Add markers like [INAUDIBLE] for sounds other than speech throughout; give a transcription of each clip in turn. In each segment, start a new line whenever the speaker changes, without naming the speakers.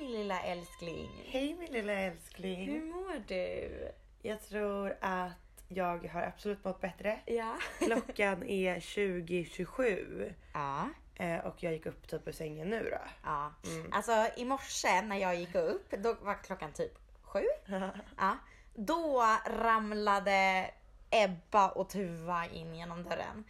min lilla älskling!
Hej min lilla älskling.
Hur mår du?
Jag tror att jag har absolut mått bättre.
Ja.
Klockan är 20.27
Ja.
eh, och jag gick upp typ ur sängen nu då.
ja. Alltså i morse när jag gick upp, då var klockan typ [LAUGHS] sju. Ja. Då ramlade Ebba och Tuva in genom dörren.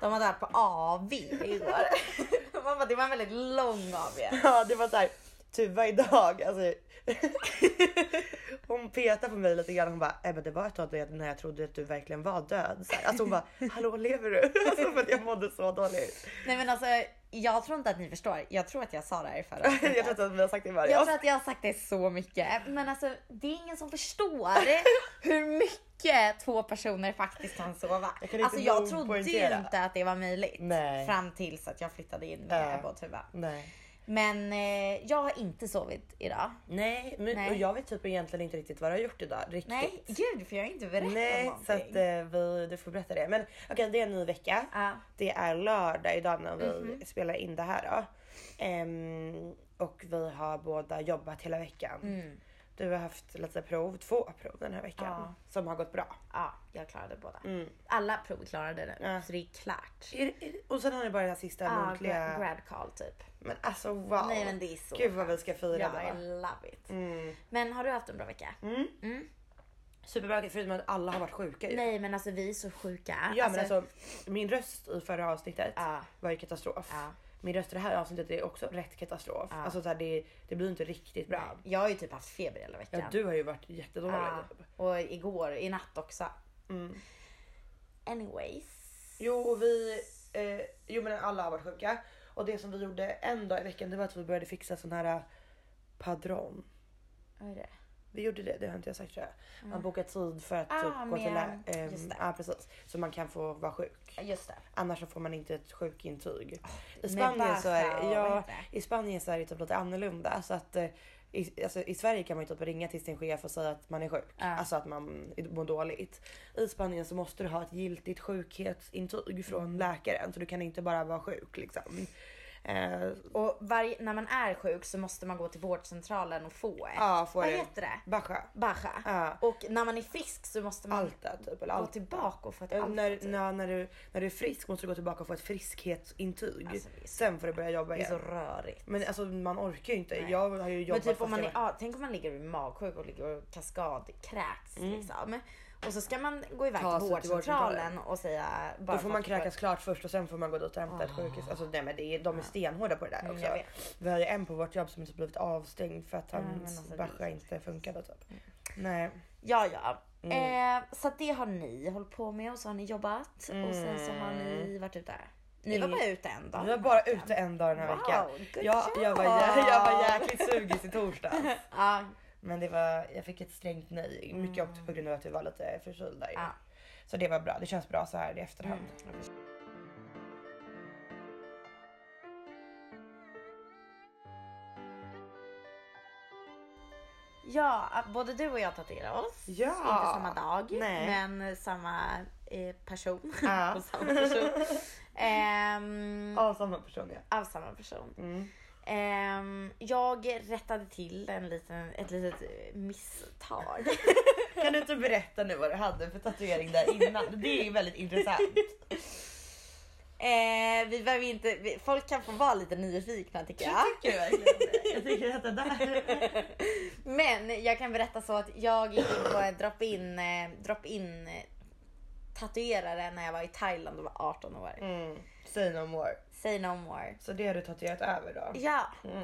De hade varit på AV igår. [LAUGHS] Man bara, det var en väldigt lång AV.
[LAUGHS] Ja det var såhär, Tuva idag, alltså. hon petar på mig lite grann hon bara, äh, men det var ett tag då jag- när jag trodde att du verkligen var död. Så här. Alltså hon bara, hallå lever du? [LAUGHS] Alltså för att jag mådde så dåligt.
Nej men alltså, jag tror inte att ni förstår. Jag tror att [LAUGHS] jag sa det här i förra
jag
avsnittet.
tror inte att vi har sagt det i varje
Jag tror
avsnitt.
att jag har sagt det så mycket, men alltså det är ingen som förstår
[LAUGHS]
hur mycket två personer faktiskt kan sova.
Jag kan inte
alltså jag
nog
trodde ju
poängtera.
inte att det var möjligt
Nej.
fram tills att jag flyttade in med
Ja.
Ebba och Tuva.
Nej.
Men eh, jag har inte sovit idag.
Nej, men,
Nej.
och jag vet typ egentligen inte riktigt vad du har gjort idag. Riktigt.
Nej, gud för jag har inte berättat
Nej,
någonting.
så att eh, vi, du får berätta det. Men okej, det är en ny vecka.
Ja. Mhm.
Det är lördag idag när vi spelar in det här då. Ehm, och vi har båda jobbat hela veckan. Du har haft lite prov, två prov den här veckan
Mm. Ja.
som har gått bra.
Ja, jag klarade båda. Alla prov klarade nu,
Mm. Ja.
så det är klart.
Är det- är det- Och sen har ni bara det här sista
Ja,
muntliga.
gra- grad call typ.
Men alltså wow.
Nej, men det är så
Gud vad vi ska fira
Ja, I
då.
love it.
Mm.
Men har du haft en bra vecka?
Superbra förutom att alla har varit sjuka ju.
Nej men alltså vi är så sjuka.
Ja men alltså min röst i förra avsnittet
Ja.
var ju katastrof.
Ja.
Min röst i det här avsnittet är också rätt katastrof. Alltså så här, det, det blir inte riktigt bra.
Jag har ju typ haft feber hela veckan.
Ja, du har Mm. ju varit jättedålig.
Ja, och igår, i natt också. Anyways.
Jo och vi, eh, jo men alla har varit sjuka. Och det som vi gjorde en dag i veckan det var att vi började fixa sån här eh, padron.
Vad är det?
Vi gjorde det, det har inte jag sagt tror jag. Man bokar tid för att
Mm. Ah,
typ, gå till
men-
lä- ehm,
just det.
Ja precis. Så man kan få vara sjuk.
Ja, Just det.
Annars så får man inte ett sjukintyg. I
med
Spanien, så
Barca
är,
och vad
ja,
heter
I Spanien så är det typ lite annorlunda. Så att, eh, i, alltså, I Sverige kan man ju typ ringa till sin chef och säga att man är sjuk.
Ja.
Alltså att man mår dåligt. I Spanien så måste du ha ett giltigt
Mm.
sjukhetsintyg från läkaren. Så du kan inte bara vara sjuk liksom. Eh,
Och varje, när man är sjuk så måste man gå till vårdcentralen och få ett.
ja, får
Vad
du-
heter det?
Baja.
Baja.
Ja.
Och när man är frisk så måste man
Alta typ. Eller
gå
alta.
tillbaka och få ett
Eh,
alta.
När,
typ.
när, när, du, när du är frisk måste du gå tillbaka och få ett friskhetsintyg.
Alltså, det är så-
Sen får du börja jobba
Det är
igen.
så rörigt.
Men alltså man orkar ju inte.
Nej.
Jag har ju
Men
jobbat
typ om
fast
man,
jag
är, ja, tänk om man ligger magsjuk och ligger och kaskadkräks liksom. Och så ska man gå iväg
Mm. Ta
till
sig till
vårdcentralen och säga bara
Då får
för
man
att-
kräkas klart först och sen får man gå dit och hämta
Ah.
ett sjukhus. Alltså, nej, men det är, de är stenhårda på det där
Mm,
också.
jag vet.
Vi har ju en på vårt jobb som typ blivit avstängd för att
men
hans
alltså, det är Mm.
Basha inte funkade. Typ. Nej.
Ja, ja.
Mm.
Eh, så att det har ni hållit på med och så har ni jobbat och sen så har ni varit ute. Ni var bara ute en dag.
Mm. Vi var bara ute en dag den här
Wow,
veckan.
good
Jag, jag, var, jä-
job.
jag var jäkligt sugis i torsdags.
[LAUGHS] Ja,
Men det var, jag fick ett strängt nej. Mycket också på grund av att vi var lite förkylda. ju.
Mm. Ja. Mm,
Så det var bra. Det känns bra så här i efterhand.
ja, både du och jag tatuerar oss.
Ja.
Inte samma dag,
Nej.
men samma eh, person.
Ja.
och [LAUGHS] samma person. Ehm,
Ja, samma person ja. Mm.
Av samma person. Ehm, jag rättade till en liten, ett litet eh, misstag. [LAUGHS]
Kan du inte berätta nu vad du hade för tatuering där innan? Det är väldigt intressant.
Eh, vi behöver inte, vi, folk kan få vara lite nyfikna tycker jag.
Tycker du verkligen det? Jag tycker att det där...
Men jag kan berätta så att jag gick in på en drop-in eh, drop in eh, tatuerare när jag var i Thailand och var 18 år.
Mm. Say no more.
Say no more.
Så det har du tatuerat över då?
Ja,
Mm.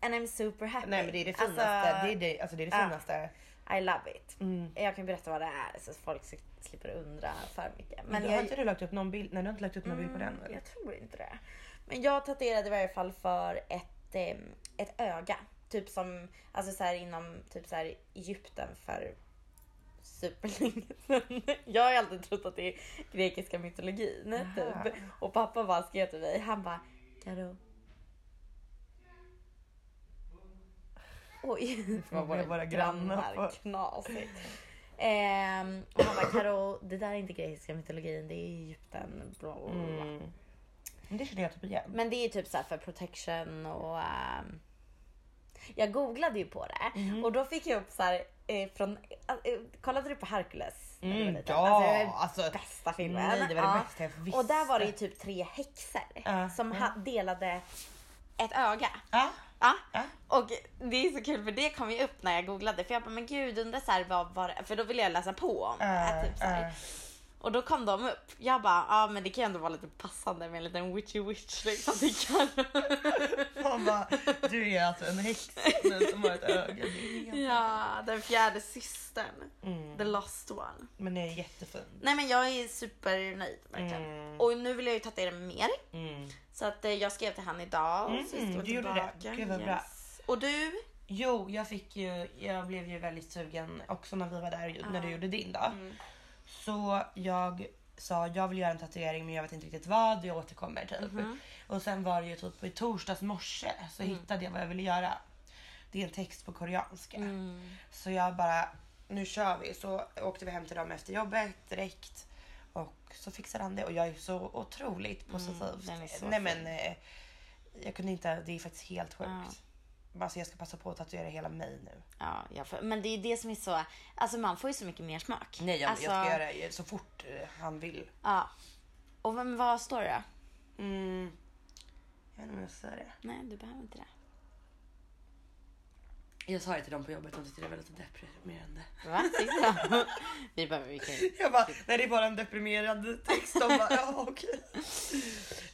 and I'm super happy.
Nej men det är det finaste.
Alltså,
det är det, alltså det, är det
ja.
finaste.
I love it.
Mm.
Jag kan berätta vad det är så att folk s- slipper undra för mycket.
Men
Men
du har
jag,
inte du lagt upp någon bild? Nej du har inte lagt upp någon bild på den
Mm,
eller?
jag tror inte det. Men jag tatuerade i varje fall för ett, eh, ett öga. Typ som, alltså så här inom typ så här Egypten för superlänge sedan. [LAUGHS] Jag har ju alltid trott att det är grekiska mytologin
Aha.
typ. Och pappa bara skrev till mig, han bara Karo. Oj,
[LAUGHS]
[LAUGHS] det
var våra grannar på-
Knasigt. Ehm, och han bara Karo, det där är inte grekiska mytologin, det är Egypten. Bla, bla, bla.
Mm. Men det känner jag typ igen.
Men det är typ så här för protection och... ehm, Jag googlade ju på det
Mhm.
och då fick jag upp så här, eh, från, eh, kollade du på Hercules? när du var
Mm,
liten?
ja,
det var
alltså,
bästa filmen.
nej, det var det bästa jag visste.
Och där var det ju typ tre häxor
Ja,
som
ja.
ha, delade ett öga.
Ja.
Ja.
Ja.
Och det är så kul för det kom ju upp när jag googlade för jag bara men gud undrar så här vad var det? För då ville jag läsa på om det. här,
Äh,
typ så här.
äh.
Och då kom de upp. Jag bara ja men det kan ju ändå vara lite passande med en liten witchy witch liksom. Det kan...
[LAUGHS] Man eh, bara, du är alltså en häxa nu som har
[LAUGHS]
ett öga.
ja den fjärde systern.
Mm.
The lost one.
Men det är jättefint.
Nej men jag är supernöjd verkligen.
Mm.
Och nu vill jag ju tatuera mig mer.
Mm.
Så att eh, jag skrev till han idag och så
Mm,
skrev
du gjorde det.
tillbaka.
Gud, vad bra.
Och du?
Jo, jag fick ju, jag blev ju väldigt sugen också när vi var där och när du gjorde din då. Så jag sa jag vill göra en tatuering men jag vet inte riktigt vad, jag återkommer typ. Och sen var det ju typ i torsdags morse så hittade jag vad jag ville göra. Det är en text på koreanska. Så jag bara, nu kör vi. Så åkte vi hem till dem efter jobbet direkt. Och så fixade han det och jag är så otroligt positiv.
den är så
Nej
fin.
men eh, jag kunde inte, det är faktiskt helt sjukt. Alltså jag ska passa på att tatuera hela mig nu.
Ja, jag får, men det är ju det som är så, alltså man får ju så mycket mer smak.
Nej jag,
alltså,
jag ska göra det så fort eh, han vill.
Ja. Och vem, vad står det då?
Mm. Jag vet inte om jag sa det.
Nej, du behöver inte det.
Jag sa det till dem på jobbet, de tyckte det var lite deprimerande. [LAUGHS]
Va? Tyckte du? Vi behöver, vi kan ju-
Jag bara, nej det är bara en deprimerad text. De bara, ja [LAUGHS] okej.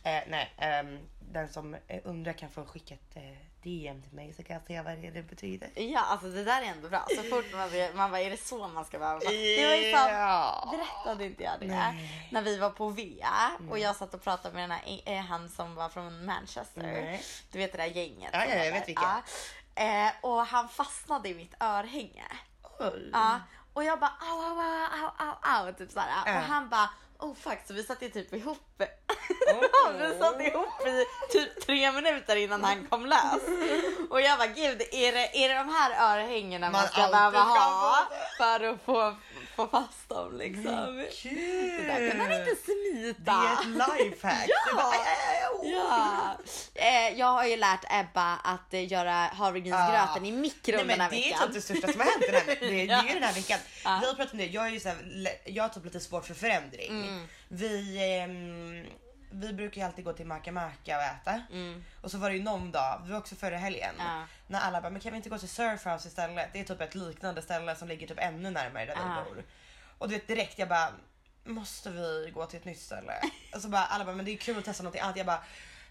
Eh, nej, ehm, den som eh, undrar kan få skicka ett eh, DM till mig så kan jag se vad det, det betyder.
Ja, alltså det där är ändå bra. Så fort man, blir- man bara, är det så man ska behöva? Det var ju fan, berättade inte jag det?
Nej. Mm.
När vi var på VEA och jag satt och pratade med den här, eh, han som var från Manchester.
Nej.
Du vet det där gänget.
Ja,
som
ja,
var
jag
där.
vet vilka.
Ja. Eh, och han fastnade i mitt örhänge.
Oj.
Ja. Och jag bara au, au, au, au, au, au, typ såhär.
Mm. Ja.
Och han bara oh fuck, så vi satt ju typ
[LAUGHS]
ihop. [LAUGHS]
Åh.
vi satt ihop i typ tre minuter innan han kom lös. Och jag bara gud, är det, är det de här örhängena man,
Man
ska
alltid
behöva
ska
ha
ha
för att få, få fast dem liksom?
Kul!
Det där kan man inte smita.
Det är ett lifehack. Det bara, "Äh, "Au."
Ja. Eh, jag har ju lärt Ebba att eh, göra havregrynsgröten i mikron
Nej, men
den här
det är
veckan.
typ det största som har hänt den här, det, det är ju den här veckan.
[LAUGHS] Ja.
Vi har pratat om det, jag är ju så här, le- jag har typ lite svårt för förändring.
Mm.
Vi, ehm, vi brukar ju alltid gå till Maka Maka och äta. Och så var det ju någon dag, det var också förra helgen,
Mm. Ja.
när alla bara, men kan vi inte gå till Surfhouse istället? Det är typ ett liknande ställe som ligger typ ännu närmare där
Ja.
vi bor. Och du vet direkt jag bara, måste vi gå till ett nytt ställe? Och så bara alla bara, men det är kul att testa någonting annat. Jag bara,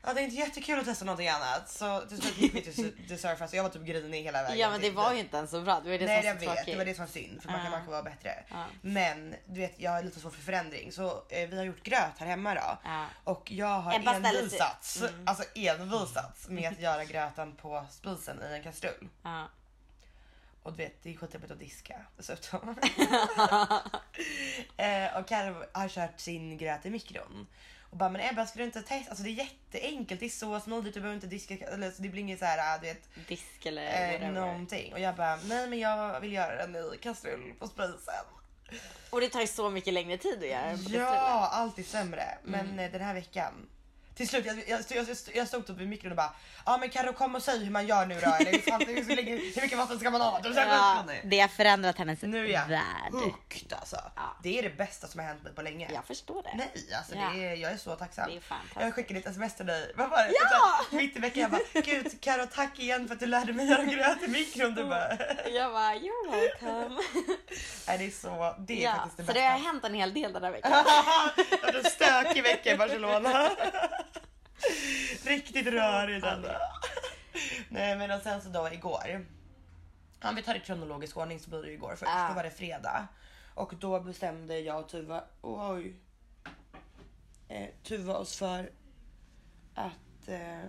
Ja det är inte jättekul att testa någonting annat så till slut gick vi till The Surface och jag var typ grinig hela vägen.
Ja men det
dit.
var ju inte ens så bra. Det var ju det
Nej
som
jag
var så
vet, det
tråkigt.
var det som var synd för man kan
Ja.
man kan vara bättre.
Ja.
Men du vet jag är lite svårt för förändring så eh, vi har gjort gröt här hemma då.
Ja.
Och jag har
Ebba ställer sig- Mm.
envisats, alltså envisats med att göra gröten på spisen i en kastrull.
Ja.
Och du vet det är skitjobbigt att diska
[LAUGHS]
dessutom. eh, och Karl har kört sin gröt i mikron. Och bara men Ebba ska du inte testa? Alltså det är jätteenkelt, det är så smidigt, du behöver inte diska, eller, så det blir inget så här, ah, du vet
Disk eller
eh,
whatever.
någonting. Och jag bara, nej men jag vill göra den i kastrull på sprisen.
Och det tar ju så mycket längre tid att göra än på kastrullen.
Ja, alltid sämre. Men eh, den här veckan. Till slut, jag, jag, jag, jag, jag stod typ i mikron och bara, ja men Karo kom och säg hur man gör nu då. Eller, hur, fan, hur, länge- hur mycket vatten ska man ha? Du, så
Ja,
här,
det har förändrat hennes
nu är jag
värld.
hooked alltså.
Ja.
Det är det bästa som har hänt mig på länge.
Jag förstår det.
Nej, alltså
Ja.
det är, jag är så tacksam.
Det är fantastiskt.
jag skickade ett sms till dig. Vad var det?
Ja!
Så här, Mitt i veckan jag bara, gud Karo tack igen för att du lärde mig göra gröt i mikron. Du bara,
Jag bara you're welcome.
Nej, det är så, [LAUGHS] det är
ja,
faktiskt det
så
bästa.
det har hänt en hel del den här
[LAUGHS]
veckan.
det var en stökig vecka i Barcelona. [LAUGHS] Riktigt rörig den. Nej men och sen så då igår. Om vi tar det i kronologisk ordning så blir det ju igår först.
Ja.
Då var det fredag. Och då bestämde jag och Tuva, oj. Eh, Tuva oss för att... Eh,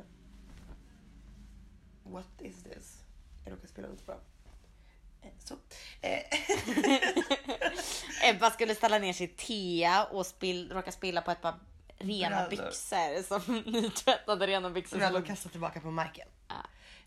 what is this? Jag råkar spela lite bra. Eh, så. Eh,
Ebba skulle ställa ner sitt te och spill, råka spilla på ett par rena
Brallor.
byxor som [LAUGHS] nytvättade rena byxor.
Som jag låg kastad tillbaka på marken.
Ja.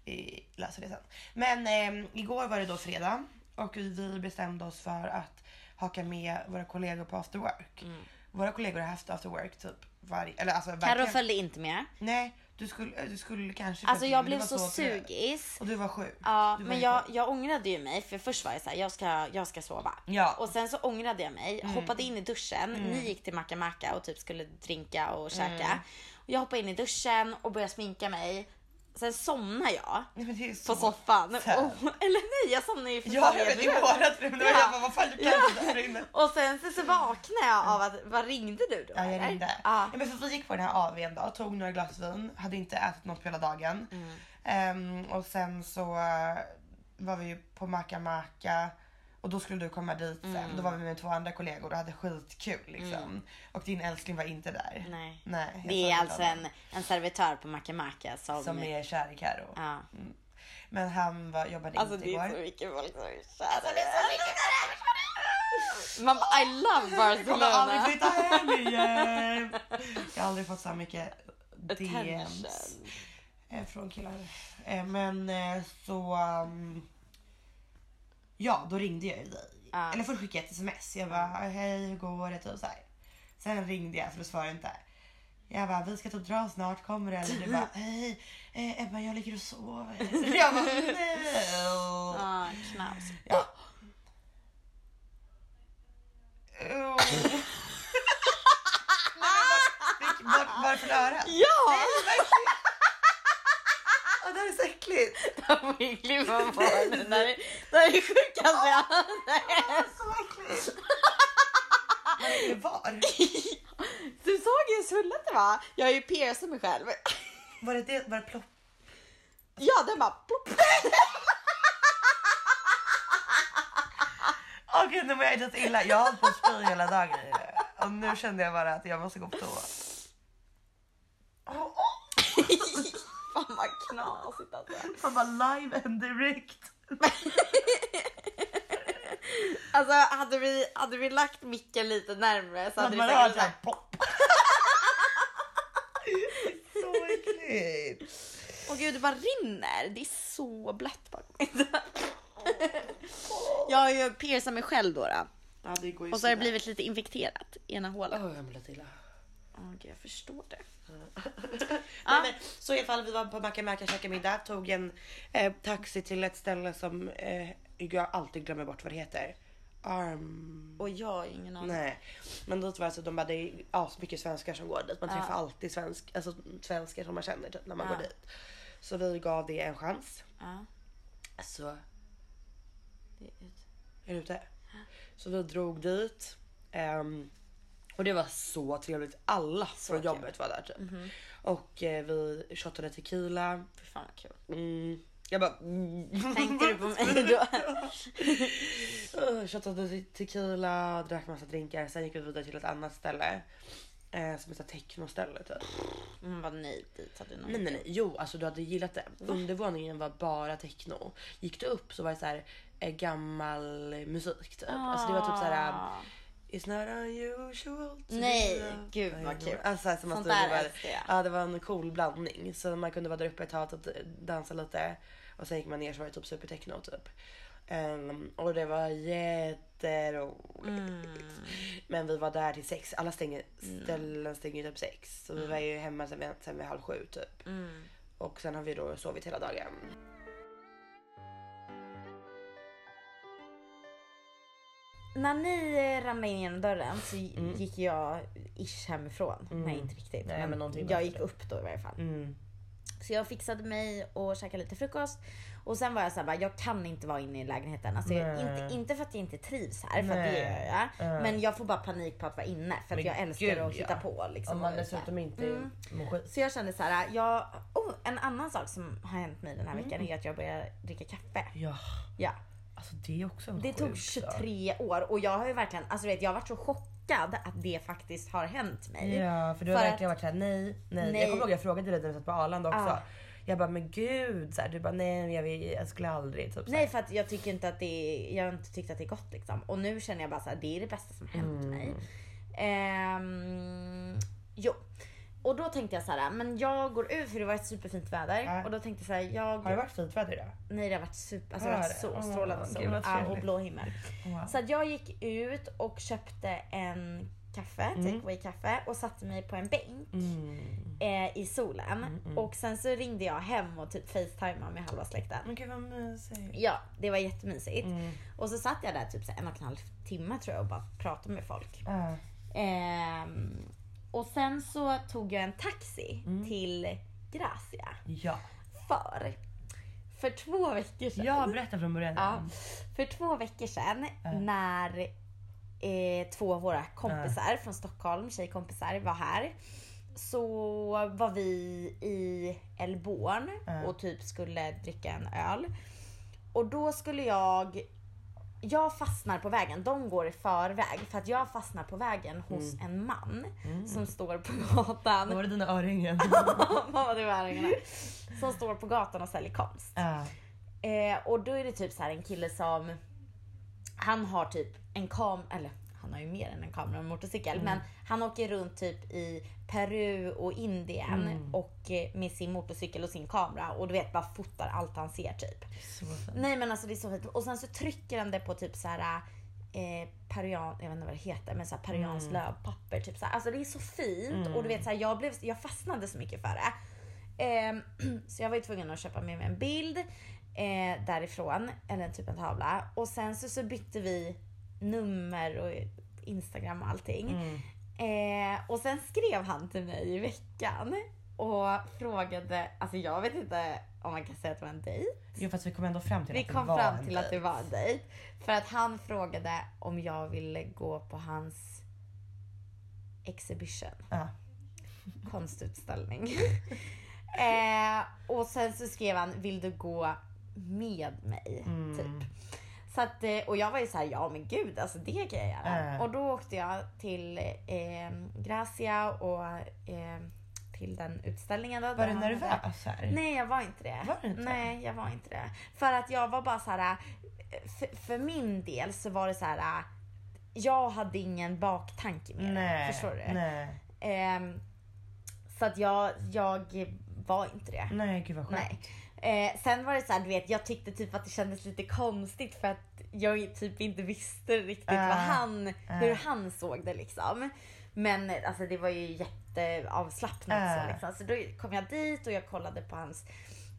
Vi löser det sen. Men ehm, igår var det då fredag och vi bestämde oss för att haka med våra kollegor på after work. Våra kollegor har haft after work typ varje... Eller alltså
Mm. Carro
verkligen-
följde inte med.
Nej, du skulle, eh, du skulle kanske...
Alltså
följt
jag
med, men
blev
du
så
var opererad.
sugis.
Och du var sjuk.
Ja,
Du var
men
ju
jag,
sjuk.
jag ångrade ju mig för först var jag så här, jag ska, jag ska sova.
Ja. Mm.
Och sen så ångrade jag mig, hoppade in i duschen. Ni gick till Maca Maca och typ skulle drinka och
Mm.
käka. Och jag hoppade in i duschen och började sminka mig. Sen somnade jag
Nej, men det är så...
på soffan.
sad.
Och, eller nej, jag somnade ju för
Ja,
fan
jag
i ett
vet, i
rum.
vårat rum. Det var
Ja.
jag bara, vad fan, du kan
Ja.
inte där inne.
Och sen så, så vaknade jag av att, vad ringde du då?
Ja, jag
eller?
ringde.
Ja.
Ja, men för vi gick på den här AWn då, tog några glas vin, hade inte ätit något på hela dagen.
Mm.
Ehm, och sen så eh, var vi på Maka Maka och då skulle du komma dit sen.
Mm.
Då var vi med två andra kollegor och hade skitkul liksom. Och din älskling var inte där.
Nej.
Nej jag
Det är
saknar
alltså
honom.
en, en servitör på Maca Maca som...
som är kär i Karo.
ja.
Men han var, jobbade
Alltså
inte
det är så
igår.
mycket folk som Alltså, är kära. Man bara, I love
Jag kommer aldrig
Barcelona.
flytta hem igen.
[LAUGHS]
Jag har aldrig fått så här mycket DMs.
Attention.
Eh, från killar. Eh, men eh, så... um, ja, då ringde jag ju dig.
Ja.
Eller först skickade jag ett sms. Jag bara, hej hur går det? Typ så här. Sen ringde jag för du svarade inte. Jag bara, vi ska typ dra snart, kommer det? Eller
[LAUGHS]
du bara, hej eh, Ebba jag ligger och sover. jag bara, no.
Ja, knas.
Ja. Oh. Nej, men bort, bort, varför örat?
Ja!
Åh, det här är så äckligt.
De vill glömma bort det. där är- Det här är det sjukaste jag har
Så äckligt. Vad är det var?
Du såg ju hur svullet det var. Jag har ju piercat mig själv.
Var det det? Var det plopp?
Ja, den bara [LAUGHS] plopp.
Åh gud, nu mår jag lite illa. Jag har hållit på att spy hela dagen i det. Och nu kände jag bara att jag måste gå på toa. Åh, åh.
Fan vad knasigt alltså.
Fan vad live and direct.
Alltså hade vi, hade vi lagt micken lite närmre så hade
Att
det
man hör
säkert
såhär
varit
plopp. [LAUGHS] Så äckligt.
Åh gud, det bara rinner. Det är så blött bakom Jag har ju piercat mig själv då. då.
Ja, det går ju
Och så har det blivit lite infekterat i ena hålet.
Åh, jag mår lite illa.
Åh gud, jag förstår det.
Nej, men, så i alla fall, vi var på Maca Maca och käkade middag, tog en eh, taxi till ett ställe som eh, jag alltid glömmer bort vad det heter. Arm...
Och jag har ingen aning.
Nej, men dit var alltså, de bara, det är asmycket svenskar som går dit. Man träffar alltid svensk, alltså, svenskar som man känner typ, när man går dit. Så vi gav det en chans.
Ja,
Så
det är ut.
är du ute? Så vi drog dit. ehm, och det var så trevligt. Alla från
trevligt.
jobbet var där typ. Och eh, vi shottade tequila.
Fy fan vad kul. [LAUGHS]
Mm. Jag bara... Mm.
Tänkte du på mig då?
Uh, Shottade te- tequila, drack massa drinkar. Sen gick vi vidare till ett annat ställe. Eh, som heter technoställe typ.
Man bara nej, dit hade du nog
Nej nej nej, jo alltså du hade gillat det. Undervåningen var bara techno. Gick du upp så var det så här eh, gammal musik typ. Alltså det var typ så här... eh,
Ah.
It's not unusual to
Nej,
be a-
gud, vad kul.
Alltså, alltså, man
Sånt
stod och
där
bara,
älskar jag.
ja, det var en cool blandning. Så man kunde vara där uppe ett tag och typ dansa lite. Och sen gick man ner så var det typ supertechno typ. Ehm, och det var jätteroligt.
Mm. um,
Men vi var där till sex. Alla stänger,
Mm.
ställen stänger ju typ sex. Så vi var ju hemma sen, vid- sen vid halv sju typ.
Mm.
Och sen har vi då sovit hela dagen.
När ni eh, ramlade in genom dörren så gi- gick jag ish hemifrån. Nej inte riktigt.
Mm. Nej, men någonting
jag
efter
gick
det.
upp då i varje fall.
Mm.
Så jag fixade mig och käkade lite frukost. Och sen var jag såhär, jag kan inte vara inne i lägenheten. Alltså, jag,
Nej.
inte, inte för att jag inte trivs här, för att det
Nej.
gör jag. Men jag får bara panik på att vara inne för att
Men
jag älskar
gud,
att
ja.
hitta på. Liksom,
Om man
och så Mm. här.
dessutom inte mår skit.
Så jag kände så här, jag, oh, en annan sak som har hänt mig den här
Mm.
veckan är att jag började dricka kaffe.
Ja,
Ja.
alltså det är också en
Det tog
sjuk sak.
23 år och jag har ju verkligen, alltså du vet jag har varit så chockad att det faktiskt har hänt mig.
Ja, för du har
För
verkligen varit såhär nej, nej.
Nej.
Jag kommer ihåg jag frågade dig när vi satt på Arlanda också.
Ah.
Jag bara men gud, så här, du bara nej men jag, vill, jag skulle aldrig. Typ, så här.
Nej för att jag tycker inte att det är, jag har inte tyckt att det är gott liksom. Och nu känner
Mm.
jag bara så här, det är det bästa som har hänt mig. Ehm, jo. Och då tänkte jag så här, men jag går ut för det var ett superfint väder.
Ja.
Och då tänkte jag så här, jag...
Har det varit fint väder idag?
Nej det har varit super, alltså det
Har
har varit
det?
så
Åh,
strålande
gud,
sol
vad
ja, och
trevligt.
blå himmel.
Wow.
Så att jag gick ut och köpte en kaffe, takeaway kaffe och satte mig på en bänk
Mm.
eh, i solen. Och sen så ringde jag hem och typ facetimade med halva släkten.
Men gud vad mysigt.
Ja, det var jättemysigt.
Mm.
Och så satt jag där typ så här en och en halv timme tror jag och bara pratade med folk.
Ja.
Ehm, och sen så tog jag en taxi
Mm.
till Gracia.
Ja.
För, för två veckor sedan.
ja, berätta från början.
Ja, för två veckor sedan när eh, två av våra kompisar från Stockholm, tjejkompisar, var här. Så var vi i Elborn och typ skulle dricka en öl. Och då skulle jag... Jag fastnar på vägen. De går i förväg. För att jag fastnar på vägen hos en man som står på gatan.
Då var det dina örhängen.
[LAUGHS] Mamma, det var öringarna. Som står på gatan och säljer konst.
Ja.
Eh, och då är det typ så här en kille som, han har typ en kam, eller han har ju mer än en kamera och en motorcykel, men han åker runt typ i Peru och Indien och eh, med sin motorcykel och sin kamera och du vet bara fotar allt han ser typ.
Så fint.
Nej men alltså det är så fint. Och sen så trycker han det på typ så här eh, peruan, jag vet inte vad det heter, men så här peruanskt lövpapper. Typ så här. Alltså det är så fint och du vet så här, jag, blev, jag fastnade så mycket för det. Ehm, [CLEARS THROAT] så jag var ju tvungen att köpa med mig en bild eh, därifrån, eller typ en tavla. Och sen så, så bytte vi nummer och Instagram och allting.
Mm.
Eh, och sen skrev han till mig i veckan och frågade, alltså jag vet inte om man kan säga att det var en dejt.
Jo fast vi kom ändå fram till
Vi
att det
kom
var
fram
en
till att det
dejt.
var en dejt. För att han frågade om jag ville gå på hans exhibition,
Ja.
konstutställning. [LAUGHS] eh, och sen så skrev han, vill du gå med mig?
Mm.
Typ. Så att, eh, och jag var ju såhär, ja men gud alltså det kan jag göra.
Äh.
Och då åkte jag till eh, Gracia och eh, till den utställningen. Då,
Var
där
du
han-
nervös här?
Nej, jag var inte det.
Var du inte?
Nej, jag var inte det. För att jag var bara så här. För, för min del så var det så här. Jag hade ingen baktanke med det.
Nej.
Förstår du?
Nej.
Ehm, så att jag, jag var inte det.
Nej gud vad skönt.
Nej. Eh, sen var det så här, du vet, jag tyckte typ att det kändes lite konstigt för att jag typ inte visste riktigt
Äh,
vad han, hur
ah.
han såg det liksom. Men eh, alltså det var ju jätteavslappnat så
Äh.
liksom. Så då kom jag dit och jag kollade på hans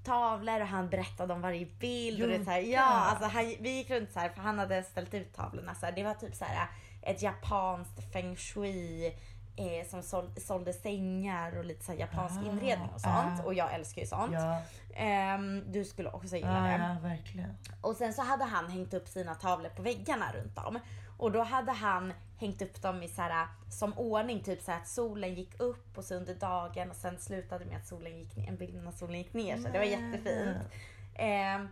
tavlor och han berättade om varje bild. Och det är så här, ja,
Gjorde.
alltså han, vi gick runt så här för han hade ställt ut tavlorna. Så här, det var typ så här ett japanskt feng shui eh, som sål, sålde sängar och lite så här japansk
Ah,
inredning och sånt.
ah.
Och jag älskar ju sånt.
Ja,
Ehm, du skulle också gilla
ja,
det.
ja verkligen.
Och sen så hade han hängt upp sina tavlor på väggarna runt om. Och då hade han hängt upp dem i så här, som ordning, typ så här att solen gick upp och så under dagen och sen slutade med att solen gick ner, en bild när solen gick ner. Så det var
Nej.
jättefint. Ehm,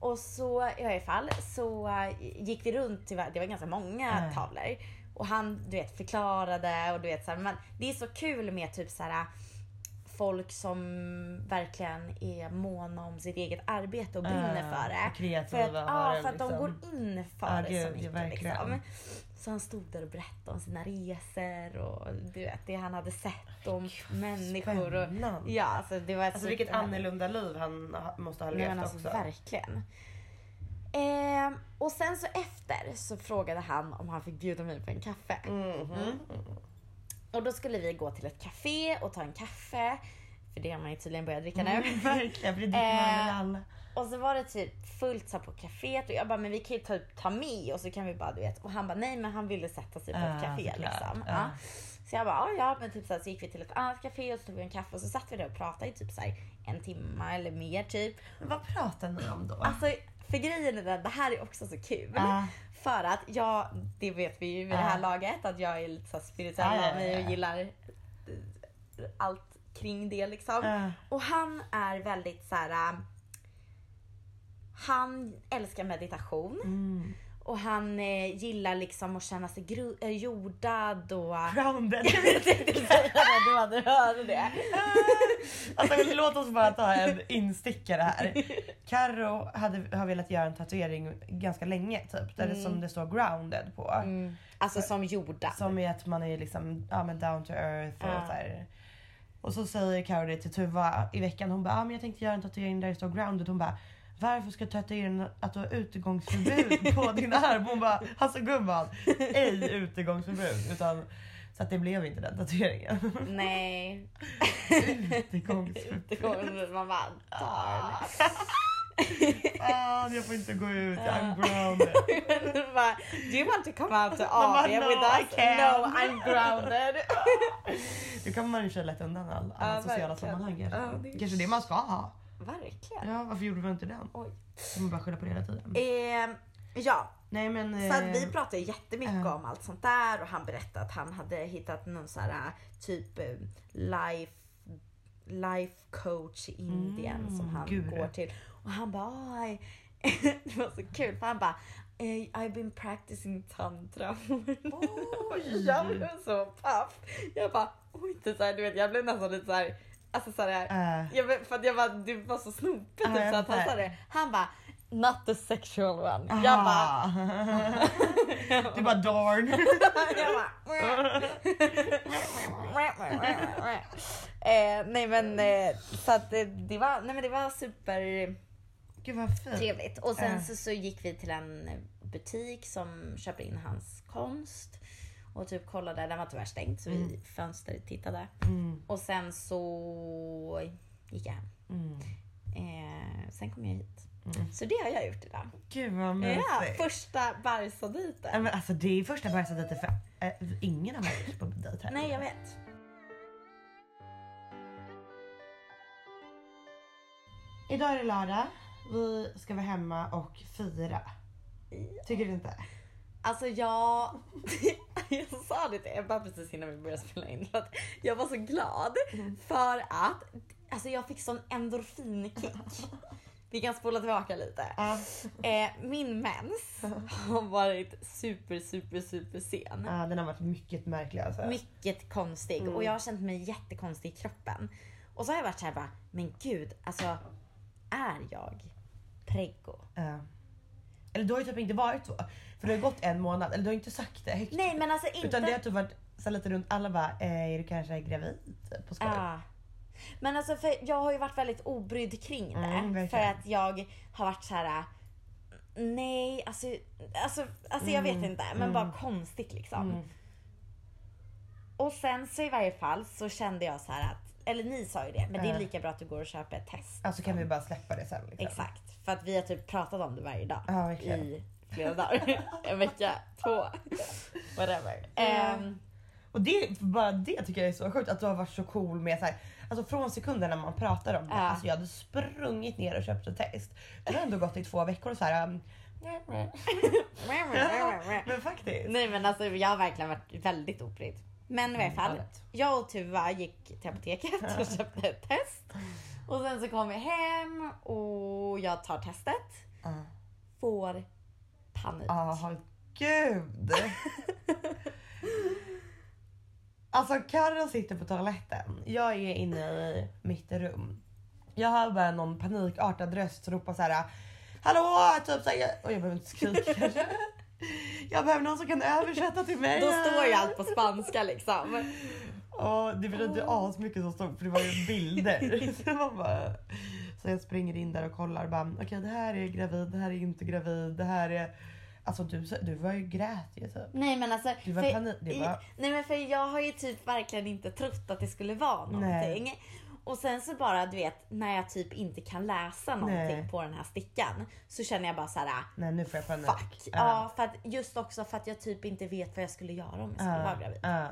och så i varje fall så eh, gick vi runt, till, var- det var ganska många
Mm.
tavlor. Och han du vet förklarade och du vet så här, men det är så kul med typ så här folk som verkligen är måna om sitt eget arbete och brinner
Ah,
för det.
och kreativa
för att,
var
ja,
det
för att de
liksom.
går in för
Ja,
det
gud,
så
ja,
mycket.
verkligen.
Liksom. Så han stod där och berättade om sina resor och du vet, det han hade sett om människor. Och,
Spännande.
ja, alltså, det var
Alltså vilket
superhärligt.
annorlunda liv han ha- måste ha
Nej,
levt
men alltså,
också.
Verkligen. Ehm, och sen så efter så frågade han om han fick bjuda mig på en kaffe.
Mhm.
Mm. Och då skulle vi gå till ett café och ta en kaffe. För det har man ju tydligen börjat dricka [LAUGHS] nu.
[LAUGHS] Mm, verkligen, för det dricker man väl
Eh,
alla.
Och så var det typ fullt så här på kaféet och jag bara, men vi kan ju typ ta med och så kan vi bara du vet. Och han bara, nej men han ville sätta sig på ett
Ah,
café
såklart.
liksom.
Ah.
Ja. Så jag bara, "Ja, ja men typ så, här, så gick vi till ett annat café och så tog vi en kaffe och så satt vi där och pratade i typ så här en timme eller mer typ.
Men vad pratar ni om då?
Alltså för grejen är den, det här är också så kul.
Ah.
För att jag, det vet vi ju vid det här
Ah.
laget, att jag är lite så här spirituell
Ah, ja,
av mig
ja,
och
ja.
gillar eh, allt kring det liksom.
Ah.
Och han är väldigt så här. eh, Han älskar meditation
Mm.
och han eh, gillar liksom att känna sig gru- eh, jordad och... äh,
Grounded.
[LAUGHS] Jag tänkte säga det, du hade hört det.
Alltså låt oss bara ta en instickare här. Carro hade, har velat göra en tatuering ganska länge typ. Där det, som det står grounded på.
Alltså som jordad.
Som är att man är liksom ja, men down to earth och
Ja.
så här, Och så säger Carro det till Tuva i veckan. Hon bara, ah, men jag tänkte göra en tatuering där det står grounded. Hon bara, varför ska tatueringen att du
[LAUGHS]
har utegångsförbud på din arm? Hon bara, alltså gumman, ej utegångsförbud. Utan, så att det blev inte den tatueringen. [LAUGHS]
Nej.
utegångsförbud.
[LAUGHS] Det går man bara "Ah." Alltså, tar
Fan, jag får inte gå ut. I'm grounded.
den. Bara, Do you want to come out to
bara,
AB
"No,
with
I
us?
can't."
No, I'm [LAUGHS] grounded.
Nu kommer man i och för sig lätt undan all, alla
Ja,
sociala
verkligen.
sammanhang. kanske.
Ja, det är-
Kanske det man ska ha.
Verkligen.
Ja, varför gjorde man inte den?
Oj.
Kan man bara skylla på det hela tiden.
Eh, ja,
Nej men...
Så att
eh,
vi pratade jättemycket
Ja.
om allt sånt där och han berättade att han hade hittat någon sån här typ eh, life, life coach i Indien som han
guru.
går till. Och han bara, "Aj." [LAUGHS] det var så kul för han bara, "Eh, I've been practicing tantra. [LAUGHS]
Oj.
jag blev så paff. Jag bara, oj, det är så här, du vet jag blev nästan lite så här, alltså så här,
eh,
jag vet, för att jag bara, du var så snopig
Ja,
typ,
jag
så att han
fattar.
sa det. Han bara, not the sexual one. Jag bara,
aha. [LAUGHS] du
[LAUGHS]
bara darn.
Jag bara, eh, nej men eh, så att det, det var, nej men det var supertrevligt.
Gud vad fint.
Och sen
Eh.
så, så gick vi till en butik som köper in hans konst och typ kollade, den var tyvärr stängd så vi fönstertittade.
Mm,
Och sen så gick jag hem.
mm.
Eh, sen kom jag hit.
Mm.
Så det har jag gjort idag.
Gud vad mysigt.
Ja,
Ja,
första Barca-dejten.
men alltså det är första bajset lite för eh, ingen har varit på dejt här.
Nej, jag vet.
Idag är det lördag. Vi ska vara hemma och fira. Tycker du inte?
Alltså jag... [LAUGHS] jag sa det till Ebba precis innan vi började spela in. Att jag var så glad
Mm.
för att alltså jag fick sån endorfinkick. Vi kan spola tillbaka lite.
Ja.
Eh, min mens har varit super, super, super sen.
Ja, den har varit mycket märklig alltså.
Mycket konstig och jag har känt mig jättekonstig i kroppen. Och så har jag varit så här bara, men gud, alltså är jag preggo?
Ja. Eller du har ju typ inte varit så. För det har ju gått en månad. Eller du har inte sagt det högt.
Nej men alltså inte...
Utan det är att du varit så här lite runt alla bara, eh, är du kanske gravid? På skoj.
Ja. Ah. Men alltså för jag har ju varit väldigt obrydd kring det.
Mm, verkligen.
för att jag har varit så här. Nej, alltså, alltså, alltså jag
Mm,
vet inte. Men bara konstigt liksom. Och sen så i varje fall så kände jag så här att, eller ni sa ju det, men det är
Ja.
lika bra att du går och köper ett test.
Alltså kan vi bara släppa det sen. Liksom.
Exakt. För att vi har typ pratat om det varje dag.
Ja, verkligen.
I flera
[LAUGHS]
dagar. en vecka, två. Whatever. Ehm, [LAUGHS]
Och det, bara det tycker jag är så sjukt att du har varit så cool med så här, alltså från sekunden när man pratar om det.
Ja.
Alltså jag hade sprungit ner och köpt ett test. Du har ändå gått i två veckor och så här. Um, men faktiskt.
Nej men alltså jag har verkligen varit väldigt obrydd. Men i
Mm,
varje fall,
vet.
jag och Tuva gick till apoteket och köpte ett test. Och sen så kom vi hem och jag tar testet.
Ja.
Får panik.
Jaha, gud. Alltså Karin sitter på toaletten. Jag är inne i mitt rum. Jag hör bara någon panikartad röst som ropar så här. Hallå! Typ så här, och jag behöver inte
[LAUGHS]
skrika kanske. Jag behöver någon som kan översätta till mig.
Då står ju allt på spanska liksom.
Ja, det var inte asmycket som stod för det var
[LAUGHS]
ju bilder. så, man bara, så jag springer in där och kollar och bara okej det här är gravid, det här är inte gravid, det här är... Alltså du, du var ju grät ju typ.
Nej men alltså.
Det var
för,
panik- det
i-
var-
Nej men för jag har ju typ verkligen inte trott att det skulle vara någonting. Och sen så bara du vet när jag typ inte kan läsa någonting
Nej.
på den här stickan. Så känner jag bara så här. "Ah,
Nej nu får jag panik.
Fuck. Ja.
Ja.
för att, just också för att jag typ inte vet vad jag skulle göra om jag
Ah,
skulle vara gravid.
ja.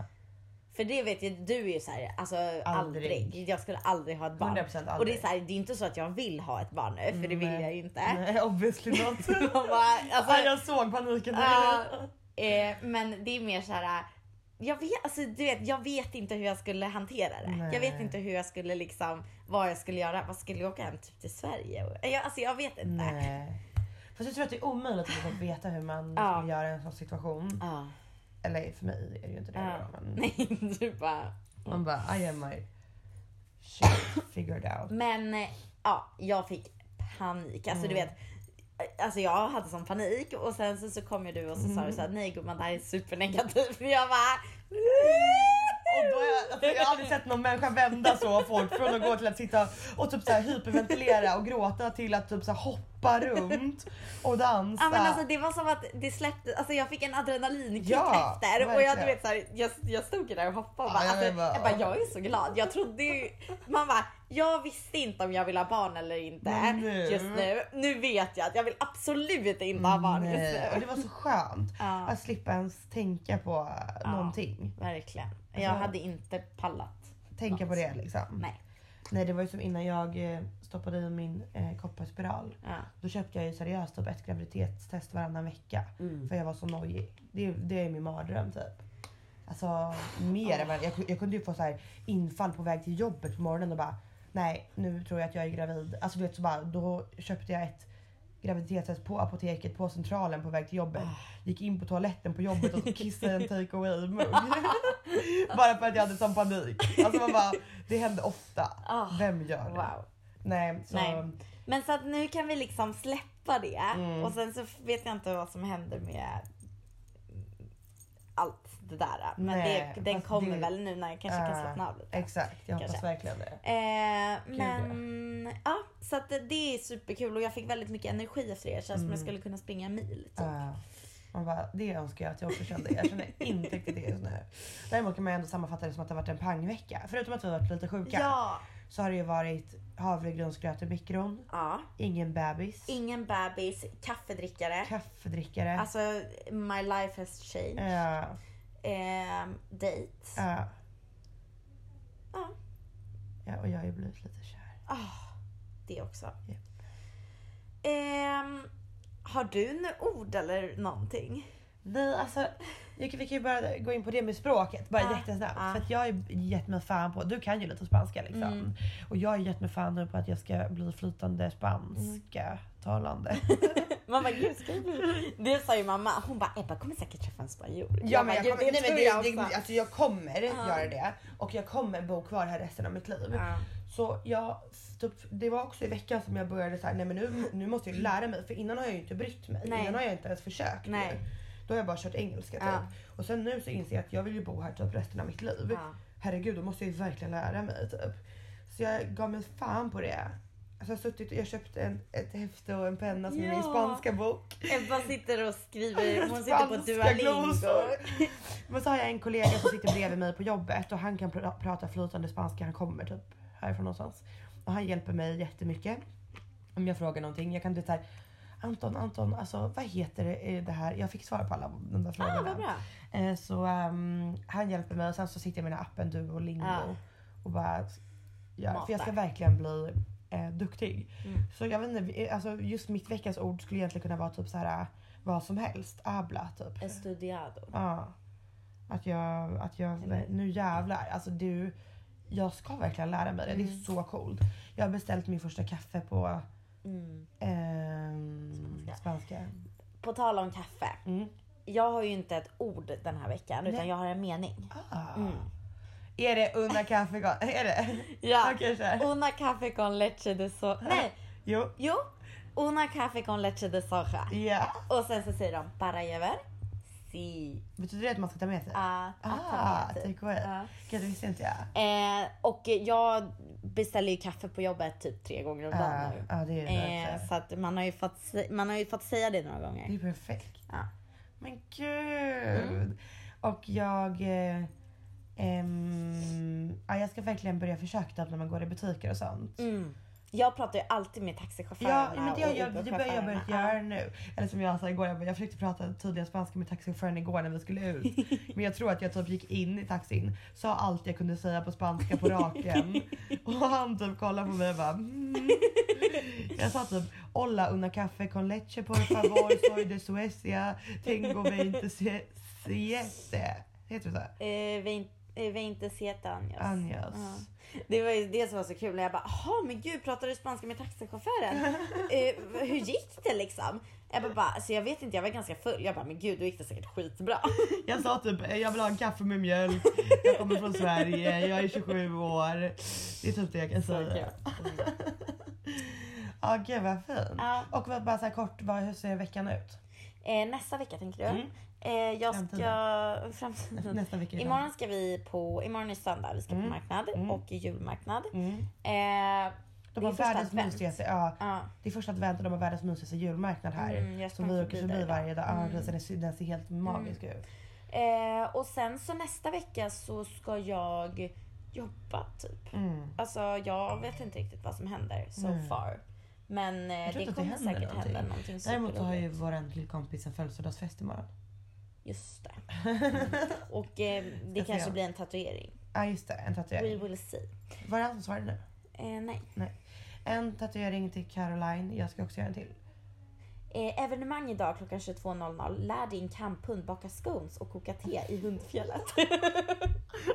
För det vet ju du är ju såhär, alltså aldrig. Jag skulle aldrig ha ett barn.
100% aldrig.
Och det är, så här, det är inte så att jag vill ha ett barn nu, för det vill
Nej.
jag ju inte.
Nej, obviously not.
Man bara, [LAUGHS] alltså,
Ja, jag såg paniken.
ja, eh, men det är mer så här. Jag vet, alltså, du vet, jag vet inte hur jag skulle hantera det.
Nej.
Jag vet inte hur jag skulle liksom, vad jag skulle göra. Vad skulle jag åka hem typ till Sverige? Och- Jag, alltså jag vet inte.
Nej. Fast jag tror att det är omöjligt att typ veta hur man
Ja.
gör i en sån situation.
Ja.
Eller för mig är det ju inte det.
Ja.
då, Men
Ah. [LAUGHS] Nej, du bara.
man bara I am my shit figured out.
Men eh, ja, jag fick panik. Alltså du
Mm.
vet, alltså jag hade sån panik och sen så, så kom ju du och så sa du
Mm.
så här, nej gumman det här är supernegativt. Och [LAUGHS] jag bara,
Och då har jag, alltså, jag har aldrig aldrig sett någon människa vända så fort från att gå till att sitta och typ så här hyperventilera och gråta till att typ så här hoppa runt och dansa.
Ja, men alltså, det var som att det släppte, alltså, jag fick en adrenalinkick
Ja,
efter och jag, du
verkligen.
vet, så här, jag, jag stod ju där och hoppade och
Ja,
bara,
jag
alltså, jag,
bara,
bara,
ja.
jag är så glad. Jag trodde ju, man bara, jag visste inte om jag ville ha barn eller inte
Men nu-
just nu. Nu vet jag att jag vill absolut inte ha barn just
Nej, Och
nu.
det var så skönt
Ja.
att slippa ens tänka på
Ja.
någonting.
Verkligen.
Alltså-
Jag hade inte pallat.
Tänka på det liksom.
Nej.
Nej det var ju som innan jag eh, stoppade i min eh, kopparspiral.
Ja.
Då köpte jag ju seriöst typ ett graviditetstest varannan vecka.
Mm.
[LAUGHS] För jag var så nojig. Det, det är min mardröm typ. Alltså mer än vad jag, jag kunde ju få så här infall på väg till jobbet på morgonen och bara nej nu tror jag att jag är gravid. Alltså du vet så bara då köpte jag ett graviditetstest på apoteket på centralen på väg till jobbet.
Ah.
Gick in på toaletten på jobbet och kissade i en take away mugg. bara för att jag hade sån panik. Alltså man bara det hände ofta.
Ah,
Vem gör det?
Wow.
Nej så
Nej. Men så att nu kan vi liksom släppa det
Mm.
och sen så vet jag inte vad som händer med allt det där. Men
Nej,
det, den
fast
kommer
det-
väl nu när jag kanske kan
Ah,
slappna av lite.
exakt jag hoppas
Kanske.
verkligen det.
Eh, men ja, så att det- det är superkul och jag fick väldigt mycket energi efter det. Jag känns som jag skulle kunna springa en mil. Typ.
Mm. Ja. Eh, Man bara, det önskar jag att jag också kände. Jag känner inte riktigt det just nu. Däremot kan man ju ändå sammanfatta det som att det har varit en pangvecka. Förutom att vi har varit lite sjuka
Ja,
så har det ju varit havregrynsgröt i mikron,
ja.
ingen bebis,
Ingen bebis, kaffedrickare.
kaffedrickare.
Alltså my life has changed.
Ja,
Eh, date.
ja.
Ja.
eh. ja, och jag har ju blivit lite kär.
det också.
Japp.
Ehm, har du några ord eller någonting?
Nej, alltså jag, kan- vi kan ju bara gå in på det med språket bara
Ah,
jättesnabbt.
ah.
För att jag har ju gett mig fan på, du kan ju lite spanska liksom.
Mm.
Och jag har gett mig fan nu på att jag ska bli flytande spanska [LAUGHS] talande.
Man bara, gud ska jag bli-" Det sa ju mamma. Hon bara, Ebba kommer säkert träffa en spanjor.
Ja, men jag
"Gud,
kommer, nej, men
tror
det,
jag
det,
också."
alltså jag kommer
Ja.
göra det och jag kommer bo kvar här resten av mitt liv.
Ja.
Så jag, typ, det var också i veckan som jag började så här, nej men nu, nu måste jag ju lära mig för innan har jag ju inte brytt mig.
Nej.
Innan har jag inte ens försökt.
Nej.
ju. Då har jag bara kört engelska typ.
Ja.
Och sen nu så inser jag att jag vill ju bo här typ resten av mitt liv.
Ja.
Herregud, då måste jag ju verkligen lära mig typ. Så jag gav mig fan på det. Alltså jag har suttit och jag köpte en, ett häfte och en penna som är min
Ja.
spanska bok.
Ebba sitter och skriver, hon sitter på Duolingo.
Men så har jag en kollega som sitter bredvid mig på jobbet och han kan pra- prata flytande spanska. Han kommer typ härifrån någonstans. Och han hjälper mig jättemycket. Om jag frågar någonting. Jag kan bli såhär Anton, Anton, alltså vad heter det- det här? Jag fick svar på alla de där
Ah,
frågorna.
vad bra.
Eh, Så ehm, han hjälper mig och sen så sitter jag med den här appen Duolingo
Ja.
och bara gör. För jag
Matar.
ska verkligen bli eh, duktig.
Mm.
Så jag vet inte, eh, alltså just mitt veckans ord skulle egentligen kunna vara typ så här eh, vad som helst. Abla typ.
Estudiado.
Ja. Att jag, att jag, nu jävlar. Alltså du, jag ska verkligen lära mig det. Det är så coolt. Jag har beställt min första kaffe på
Mm.
ehm,
Spanska.
spanska.
På tal om kaffe.
Mm.
Jag har ju inte ett ord den här veckan utan
Nej.
jag har en mening.
Ah.
Mm.
Är det unna kaffe? [LAUGHS] Är det?
Ja.
Okej kör.
Una café con leche de soja. Nej,
Jo.
jo. Una café con leche de soja.
Ja.
Och sen så säger de para llevar. Si.
Betyder det att man ska ta med sig?
Ah, att ta
Ah,
med typ.
take away.
Ja.
Gud, det visste inte jag.
Eh, och jag beställer ju kaffe på jobbet typ tre gånger om dagen
Ja,
nu.
ja, Ah, det är det
Eh,
verkligen.
så att man har, ju fått, se- man har ju fått säga det några gånger.
Det är perfekt.
Ja. Mm.
Men gud! Och jag... Eh, ehm, ja, jag ska verkligen börja försöka typ när man går i butiker och sånt.
Mm. Jag pratar ju alltid med
Ja,
taxichaufförerna
men det, jag,
och
det börjar jag börja
Uber-chaufförerna.
göra nu. Eller som jag sa igår, jag, bara, jag försökte prata tydlig spanska med taxichauffören igår när vi skulle
[LAUGHS]
ut. Men jag tror att jag typ gick in i taxin, sa allt jag kunde säga på spanska
[LAUGHS]
på raken. Och han typ kollade på mig och bara mm. Jag sa typ Hola una café con leche por favor, soy de Suecia, tengo veinte sie- siete. Heter det så?
Ja. Eh, vi, in- eh, vi inte seta Anjas.
Anjas.
Ja. Det var ju det som var så kul när jag bara, jaha men gud pratar du spanska med taxichauffören? eh, hur gick det liksom? Jag bara, bara, alltså jag vet inte, jag var ganska full. Jag bara, men gud då gick det säkert skitbra.
Jag sa typ jag vill ha en kaffe med mjölk, jag kommer från Sverige, jag är 27 år. Det är typ det jag kan
Så
säga.
kul.
Ja gud vad fint.
Ja.
Och vad- bara så här kort, vad, hur ser veckan ut?
Eh, nästa vecka tänker du?
Mm.
Eh, jag ska... [LAUGHS]
Framtiden.
Framtiden.
Nästa vecka. liksom. är
Imorgon ska vi på... Imorgon är söndag. Vi ska på marknad och julmarknad.
det. Mm.
Eh, det
De
är
har
första
världens
advent.
mysigaste, ja,
Ja.
det är första advent och de har världens mysigaste julmarknad här.
Mm, jag
som
sprang
vi åker
förbi Mm.
förbi
där
varje dag. Ja, precis, den, ser, den ser helt
Mm.
magisk ut.
Eh, och sen så nästa vecka så ska jag jobba typ.
Mm.
Alltså jag vet inte riktigt vad som händer so
Nej.
far. Men eh,
Jag tror
det
inte att det
kommer
händer
säkert
någonting.
hända någonting
Däremot så har
superroligt.
ju vår lillkompis en födelsedagsfest imorgon.
[LAUGHS] Just det. Mm. Och eh, det
Ska
kanske
se.
blir en tatuering.
Ja just det, en
We
tatuering.
will see.
Var det han som svarade nu?
Eh, nej.
En tatuering till Caroline, jag ska också göra en till.
Eh, evenemang idag klockan 22.00. Lär din kamphund baka scones och koka te i
[LAUGHS]
hundfjället.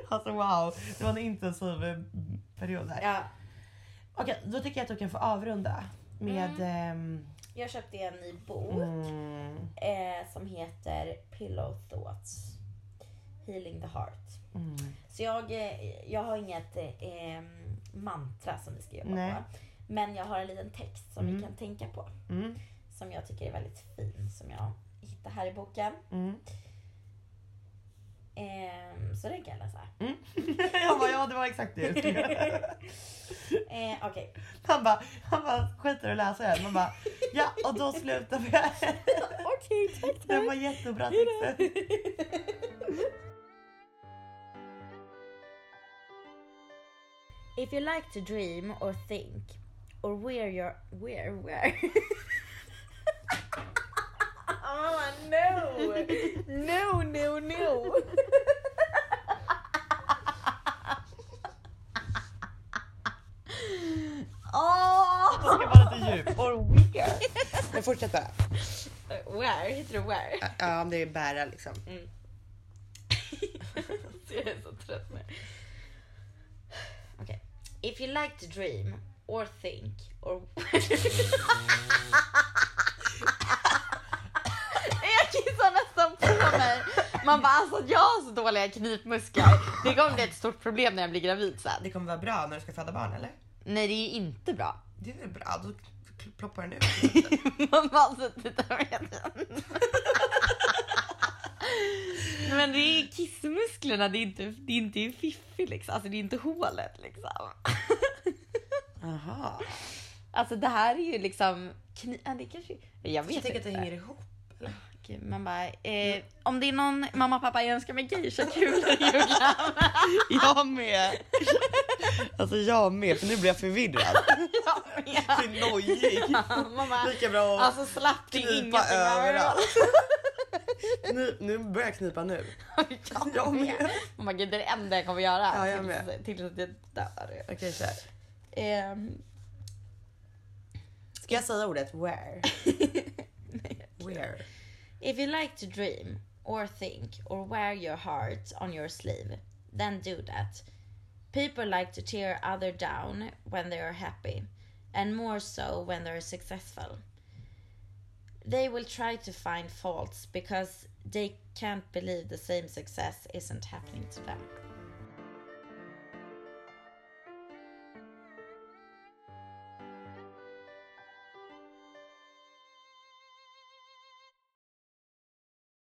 Alltså wow, det var en intensiv eh, period där.
ja,
Okej, då tycker jag att du kan få avrunda med... ehm,
jag köpte en ny bok.
Mm,
eh, som heter Pillow Thoughts. Healing the Heart.
mm,
Så jag, eh, jag har inget eh, eh, mantra som vi ska jobba
Nej.
på. Men jag har en liten text som vi
Mm.
kan tänka på.
mm,
Som jag tycker är väldigt fin. Som jag hittar här i boken.
mm.
Eh, så den kan jag läsa.
mm. [LAUGHS] jag bara, ja det var exakt det jag skulle göra.
[LAUGHS] Eh, Okej.
Han bara, han bara skiter i att läsa det. Man bara, ja och då slutar vi här.
Okej, tack
Det
tack.
var
[LAUGHS]
jättebra texter.
If you like to dream or think or where you're where where Oh no No no no
Jag
Oh,
ska vara lite djup. Och weird. [LAUGHS] Men fortsätta.
where heter det where?
Ja, det är bära liksom.
[LAUGHS] Jag är så trött nu. Okej. If you like to dream or think or... [LAUGHS] jag kissar nästan på mig. Man bara alltså jag har så dåliga knipmuskler. Det kommer bli ett stort problem när jag blir gravid sen.
Det kommer vara bra när du ska föda barn eller?
Nej det är inte bra.
Det är väl bra, då kl- ploppar den ut.
Man bara har suttit där med den. Men det är kissmusklerna, det är inte, det är inte fiffi liksom. Alltså det är inte hålet liksom.
Jaha.
Alltså det här är ju liksom... Kni- ja, det kanske... Jag vet
Jag tänker att
inte.
det hänger ihop.
Okej, Man bara, eh, om det är någon mamma och pappa jag önskar mig geisha-kulor i julklapp.
Jag med. [LAUGHS] Alltså jag med, för nu blir jag [LAUGHS] förvirrad.
Ja, ja.
är nojig.
Mamma,
Lika bra att
alltså slapp det är
knipa
ingenting. [LAUGHS]
överallt. Nu, nu börjar jag knipa nu. Jag med.
Mamma gud det är det enda jag kommer göra.
Ja, jag
tills-
med.
Tills att jag dör.
Okej kör.
Ehm,
Ska jag säga ordet [LAUGHS] where? Where?
If you like to dream or think or wear your heart on your sleeve, then do that. People like to tear other down when they are happy, and more so when they are successful. They will try to find faults because they can't believe the same success isn't happening to them.